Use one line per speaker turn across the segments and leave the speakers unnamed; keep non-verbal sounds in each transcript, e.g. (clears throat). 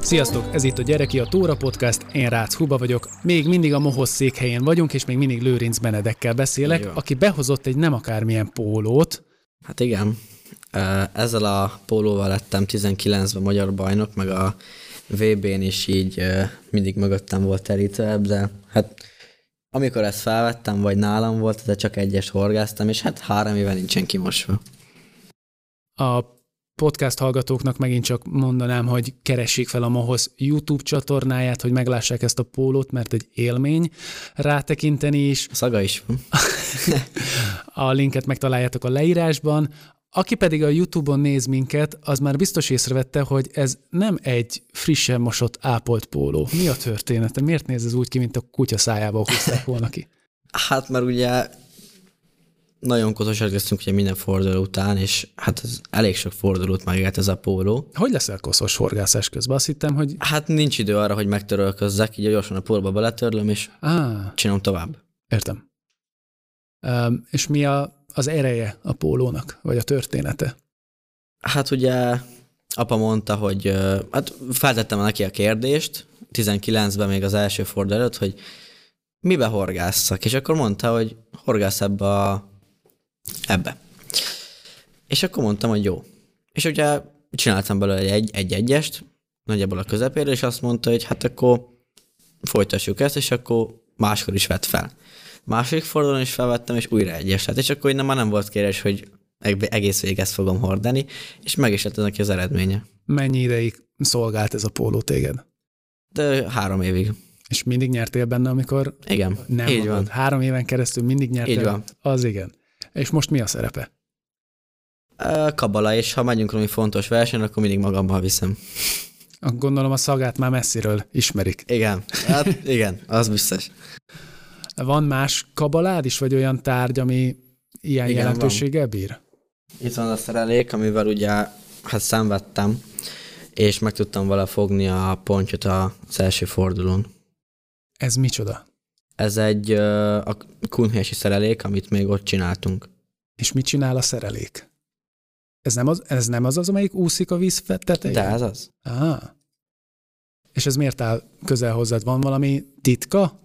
Sziasztok, ez itt a Gyereki a Tóra Podcast, én Rácz Huba vagyok. Még mindig a Mohosz székhelyén vagyunk, és még mindig Lőrinc Benedekkel beszélek,
Így van.
aki behozott egy nem akármilyen pólót.
Hát igen, Ö, ezzel a pólóval lettem 19-ben magyar bajnok, meg a VB-n is így ö, mindig mögöttem volt terítőebb, de hát amikor ezt felvettem, vagy nálam volt, de csak egyes horgáztam, és hát három éve nincsen kimosva.
A podcast hallgatóknak megint csak mondanám, hogy keressék fel a Mohosz YouTube csatornáját, hogy meglássák ezt a pólót, mert egy élmény rátekinteni is.
A szaga is van.
A linket megtaláljátok a leírásban. Aki pedig a YouTube-on néz minket, az már biztos észrevette, hogy ez nem egy frissen mosott ápolt póló. Mi a története? Miért néz ez úgy ki, mint a kutya szájából húzták volna ki?
Hát mert ugye nagyon kotosak leszünk ugye minden forduló után, és hát ez elég sok fordulót megélt ez a póló.
Hogy leszel koszos horgászás közben? Azt hittem, hogy...
Hát nincs idő arra, hogy megtörölközzek, így gyorsan a pólóba beletörlöm, és
Á,
csinálom tovább.
értem. Um, és mi a, az ereje a pólónak, vagy a története?
Hát ugye apa mondta, hogy ö, hát feltettem neki a kérdést, 19-ben még az első forduló előtt, hogy mibe horgásszak, és akkor mondta, hogy horgász ebbe a... ebbe. És akkor mondtam, hogy jó. És ugye csináltam belőle egy, egy egyest, nagyjából a közepére, és azt mondta, hogy hát akkor folytassuk ezt, és akkor máskor is vett fel. Második fordulón is felvettem, és újra egyes. Hát és akkor innen már nem volt kérdés, hogy eg- egész végig ezt fogom hordani, és meg is lett neki az eredménye.
Mennyi ideig szolgált ez a póló téged?
De három évig.
És mindig nyertél benne, amikor
Igen.
nem
Így
magad.
van.
Három éven keresztül mindig nyertél.
Így van.
Az igen. És most mi a szerepe?
Ö, Kabala, és ha megyünk valami fontos versenyre, akkor mindig magammal viszem.
Ah, Gondolom a szagát már messziről ismerik.
Igen. Hát igen, az biztos.
Van más kabalád is, vagy olyan tárgy, ami ilyen
Igen,
jelentőséggel bír?
Itt van a szerelék, amivel ugye hát szenvedtem, és meg tudtam vele fogni a pontyot az első fordulón.
Ez micsoda?
Ez egy ö, a kunhési szerelék, amit még ott csináltunk.
És mit csinál a szerelék? Ez nem az, ez nem az, az amelyik úszik a víz fe- tetején?
De ez az?
Ah. És ez miért áll közel hozzád? Van valami titka?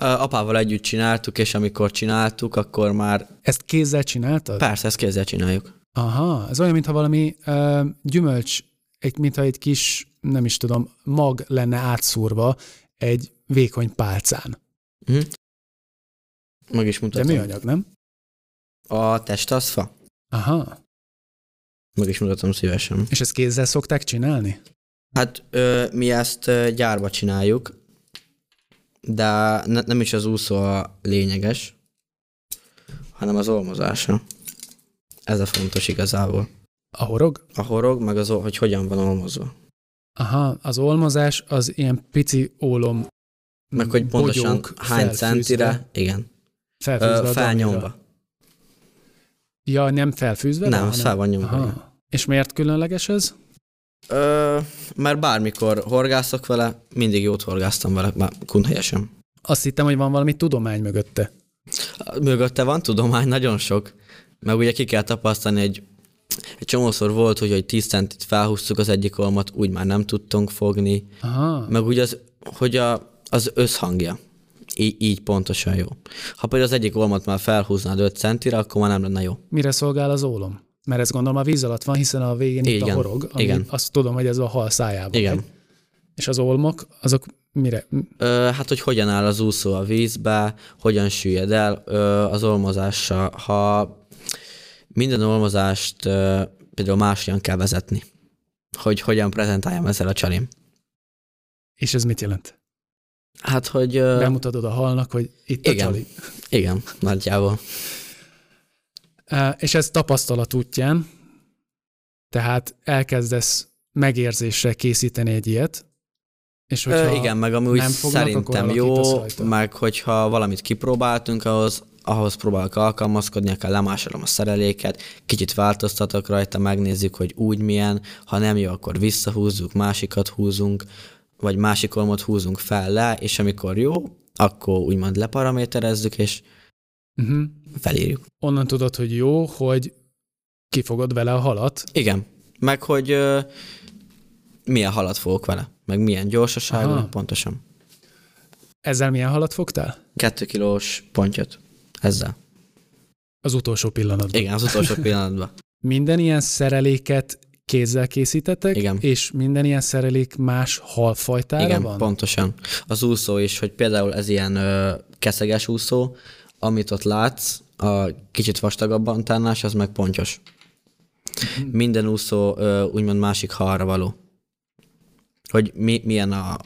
Ö, Apával együtt csináltuk, és amikor csináltuk, akkor már
Ezt kézzel csináltad?
persze ezt kézzel csináljuk.
Aha, ez olyan, mintha valami ö, gyümölcs, egy, mintha egy kis, nem is tudom, mag lenne átszúrva egy vékony pálcán.
Mhm. Meg is
De
mutatom.
műanyag, nem?
A testaszfa?
Aha.
Meg is mutatom szívesen.
És ezt kézzel szokták csinálni?
Hát ö, mi ezt ö, gyárba csináljuk, de ne, nem is az úszó a lényeges, hanem az olmozása. Ez a fontos igazából.
A horog?
A horog, meg az, ol- hogy hogyan van olmozva.
Aha, az olmozás az ilyen pici ólom
Meg hogy pontosan
bogyók
hány
felfűzve-
centire, igen,
felfűzve a
ö,
damira.
felnyomva.
Ja, nem felfűzve?
Nem,
van,
az fel van nyomva. igen.
Aha. És miért különleges ez?
Ö, mert bármikor horgászok vele, mindig jót horgáztam vele, már kunhelyesen.
Azt hittem, hogy van valami tudomány mögötte.
Mögötte van tudomány, nagyon sok. Meg ugye ki kell tapasztalni, egy, egy csomószor volt, hogy, hogy 10 centit felhúztuk az egyik olmat, úgy már nem tudtunk fogni.
Aha.
Meg ugye az, hogy a, az összhangja. Í, így pontosan jó. Ha például az egyik olmat már felhúznád 5 centire, akkor már nem lenne jó.
Mire szolgál az ólom? Mert ez gondolom a víz alatt van, hiszen a végén itt a
Igen,
horog, ami
igen.
azt tudom, hogy ez a hal szájában.
Igen.
megy. És az olmok, azok mire? M-
Ö, hát, hogy hogyan áll az úszó a vízbe, hogyan süllyed el ö, az olmozással. Ha minden olmozást ö, például máshogyan kell vezetni, hogy hogyan prezentáljam ezzel a csalim.
És ez mit jelent?
Hát, hogy... ö,
Bemutatod a halnak, hogy itt
igen.
a csali.
Igen, nagyjából.
Á, És ez tapasztalat útján, tehát elkezdesz megérzésre készíteni egy ilyet, és hogyha
Ö, igen, meg ami úgy
nem fognak,
szerintem
akkor alakítasz
jó,
rajta.
meg hogyha valamit kipróbáltunk, ahhoz, ahhoz próbálok alkalmazkodni, akár lemásolom a szereléket, kicsit változtatok rajta, megnézzük, hogy úgy milyen, ha nem jó, akkor visszahúzzuk, másikat húzunk, vagy másik olmot húzunk fel le, és amikor jó, akkor úgymond leparaméterezzük, és
Uh-huh.
felírjuk.
Onnan tudod, hogy jó, hogy kifogod vele a halat.
Igen. Meg hogy ö, milyen halat fogok vele, meg milyen
Aha.
gyorsaságon, pontosan.
Ezzel milyen halat fogtál?
Kettő kilós pontyot. Ezzel.
Az utolsó pillanatban.
Igen, az
(laughs)
utolsó pillanatban.
Minden ilyen szereléket kézzel készítettek,
Igen.
és minden ilyen szerelék más halfajtára
Igen,
van?
pontosan. Az úszó is, hogy például ez ilyen ö, keszeges úszó, amit ott látsz, a kicsit vastagabb antánás, az meg pontyos.
Mhm.
Minden úszó ö, úgymond másik halra való. Hogy mi, milyen a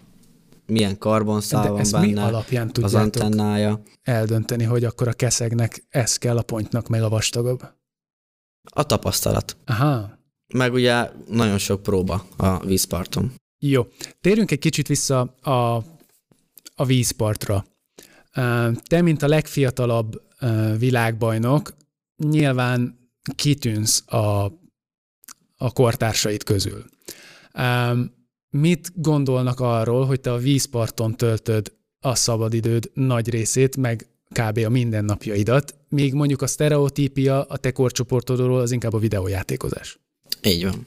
milyen karbonszál
De
van
ezt mi
benne,
alapján
az
tudjátok
antennája.
eldönteni, hogy akkor a keszegnek ez kell, a pontnak meg a vastagabb?
A tapasztalat.
Aha.
Meg ugye nagyon sok próba a vízparton.
Jó. Térjünk egy kicsit vissza a, a vízpartra. Ö, Te, mint a legfiatalabb ö, világbajnok, nyilván kitűnsz a, a kortársaid közül. Ö, Mit gondolnak arról, hogy te a vízparton töltöd a szabadidőd nagy részét, meg kb. a mindennapjaidat, még mondjuk a sztereotípia a te korcsoportodról az inkább a videójátékozás.
Így van.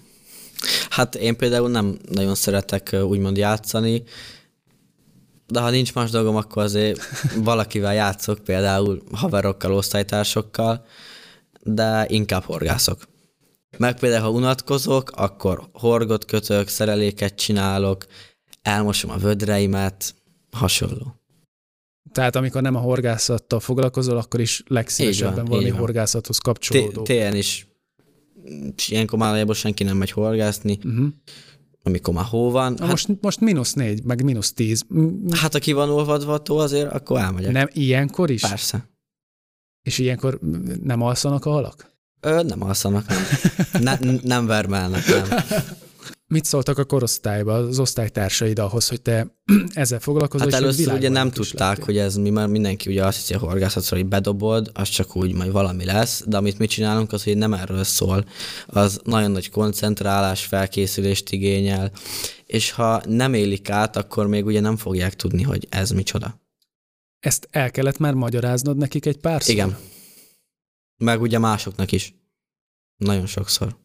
Hát én például nem nagyon szeretek ö, úgymond játszani, de ha nincs más dolgom,
(laughs)
akkor azért valakivel játszok, például haverokkal, osztálytársokkal, de inkább horgászok. Meg például, ha unatkozok, akkor horgot kötök, szereléket csinálok, elmosom a vödreimet, hasonló.
Tehát amikor nem a horgászattal foglalkozol, akkor is legszívesebben
Így van,
valami
így van.
horgászathoz
Té-
kapcsolódó.
télen is és ilyenkor már nagyjából senki nem megy horgászni,
uh-huh.
amikor már hó van.
Na
Hát,
most, most mínusz négy, meg mínusz tíz. M- m-
hát aki van olvadva a tó, azért akkor elmegyek.
Nem ilyenkor is?
Persze.
És ilyenkor m- nem alszanak a
(laughs)
halak?
Ö, nem alszanak, nem. Ne, n- nem vermelnek, nem.
Mit szóltak a korosztályba, az osztálytársaid ahhoz, hogy te (clears throat) ezzel foglalkozol?
Hát
és hogy
először ugye nem
világbajnok is
tudták,
lettél?
hogy ez mi, mert mindenki ugye azt hiszi a horgászatra, hogy bedobod, az csak úgy majd valami lesz, de amit mi csinálunk, az hogy nem erről szól. Az nagyon nagy koncentrálás, felkészülést igényel, és ha nem élik át, akkor még ugye nem fogják tudni, hogy ez micsoda.
Ezt el kellett már magyaráznod nekik egy pár
Igen. Meg ugye másoknak is. Nagyon sokszor.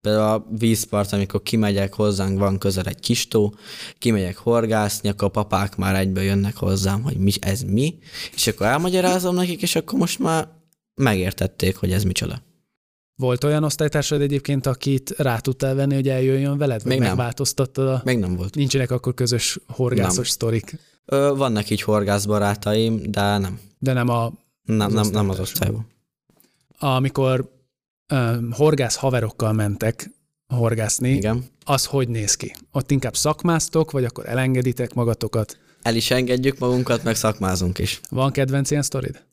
Például a vízpart, amikor kimegyek hozzánk, van közel egy kis tó, kimegyek horgászni, akkor a papák már egybe jönnek hozzám, hogy mi, ez mi, és akkor elmagyarázom nekik, és akkor most már megértették, hogy ez micsoda.
Volt olyan osztálytársad egyébként, akit rá tudtál venni, hogy eljöjjön veled? Vagy
Még nem.
megváltoztattad a...
Még nem volt.
Nincsenek akkor közös horgászos
Nem.
sztorik,
Ö, vannak így horgászbarátaim, de nem.
de nem a
Nem,
Az
nem, nem
osztálytársam.
az osztályban.
amikor um, horgász haverokkal mentek horgászni, Igen.
Igen.
az hogy néz ki? Ott inkább szakmáztok, vagy akkor elengeditek magatokat?
El is engedjük magunkat, meg szakmázunk is.
Van kedvenc ilyen sztorid?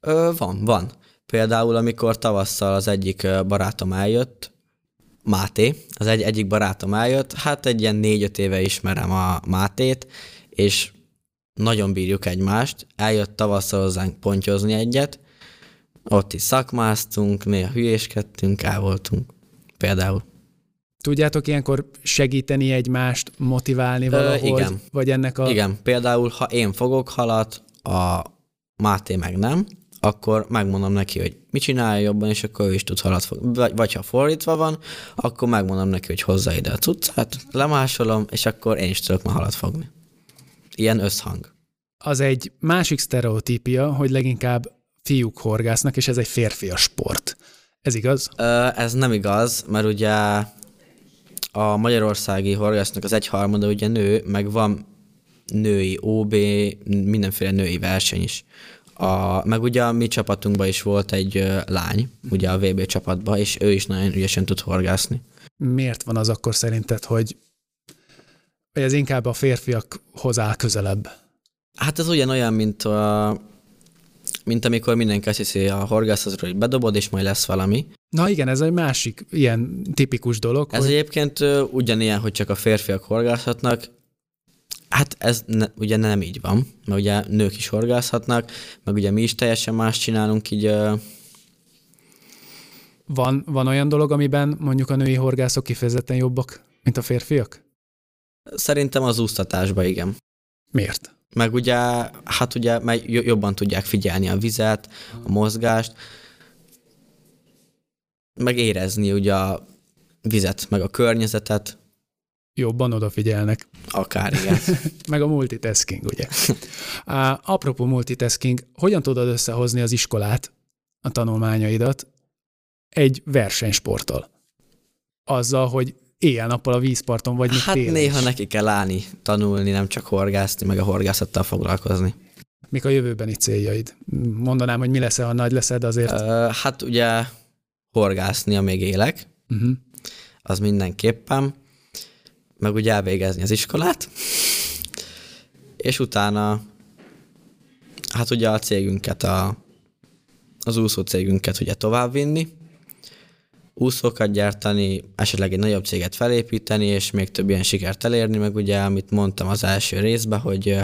Ö, van, van. Például, amikor tavasszal az egyik ö, barátom eljött, Máté, az egy, egyik barátom eljött, hát egy ilyen négy-öt éve ismerem a Mátét, és nagyon bírjuk egymást. Eljött tavasszal hozzánk pontyozni egyet, ott is szakmáztunk, néha hülyéskedtünk, el voltunk. Például.
Tudjátok ilyenkor segíteni egymást, motiválni valahogy?
igen.
Vagy ennek a...
Igen, például, ha én fogok halat, a Máté meg nem, akkor megmondom neki, hogy mit csinálja jobban, és akkor ő is tud halat fogni. Vagy, vagy ha fordítva van, akkor megmondom neki, hogy hozza ide a cuccát, lemásolom, és akkor én is tudok ma halat fogni. Ilyen összhang.
Az egy másik sztereotípia, hogy leginkább fiúk horgásznak, és ez egy férfias sport. Ez igaz?
Ö, ez nem igaz, mert ugye a magyarországi horgásznak az egyharmada ugye nő, meg van női OB, mindenféle női verseny is. A, meg ugye a mi csapatunkban is volt egy ö, lány, ugye a VB csapatban, és ő is nagyon ügyesen tud horgászni.
Miért van az akkor szerinted, hogy hogy ez inkább a férfiakhoz áll közelebb?
Hát ez ugyanolyan, mint, a, mint amikor mindenki azt hiszi a horgászatról, hogy bedobod, és majd lesz valami.
Na igen, ez egy másik ilyen tipikus dolog,
Ez
hogy
egyébként ö, ugyanilyen, hogy csak a férfiak horgászhatnak. Hát ez ne, ugye nem így van, mert ugye nők is horgászhatnak, meg ugye mi is teljesen más csinálunk, így ö,
van, van olyan dolog, amiben mondjuk a női horgászok kifejezetten jobbak, mint a férfiak?
szerintem az úsztatásba igen.
Miért?
Meg ugye, hát ugye, meg jo- jobban tudják figyelni a vizet, a mozgást, meg érezni ugye a vizet, meg a környezetet,
Jobban odafigyelnek.
akár igen.
Meg a multitasking,
(laughs)
ugye. Á, apropó multitasking, hogyan tudod összehozni az iskolát, a tanulmányaidat egy versenysporttal? Azzal, hogy éjjel-nappal a vízparton vagy még
Hát
télen is.
néha neki kell állni, tanulni, nem csak horgászni, meg a horgászattal foglalkozni.
Mik a jövőbeni céljaid? Mondanám, hogy mi leszel, ha nagy leszel, de azért... Uh,
Ö, hát ugye horgászni, amíg élek,
uh-huh.
az mindenképpen, meg ugye elvégezni az iskolát, és utána hát ugye a cégünket, a, az úszó cégünket ugye továbbvinni, úszókat gyártani, esetleg egy nagyobb céget felépíteni, és még több ilyen sikert elérni, meg ugye, amit mondtam az első részben, hogy ö,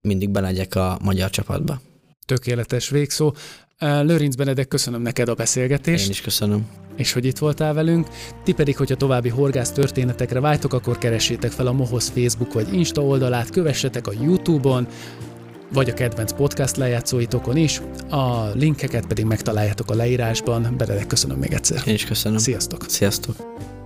mindig belegyek a magyar csapatba.
Tökéletes végszó. Á, Lőrinc Benedek, köszönöm neked a
Én
beszélgetést,
is köszönöm.
és hogy itt voltál velünk. Ti pedig, hogyha további horgász történetekre vágytok, akkor keressétek fel a Mohoz Facebook vagy Insta oldalát, kövessetek a Youtube-on, vagy a kedvenc podcast lejátszóitokon is. A linkeket pedig megtaláljátok a leírásban. Benedek, köszönöm még egyszer.
Én is köszönöm.
Sziasztok!
Sziasztok.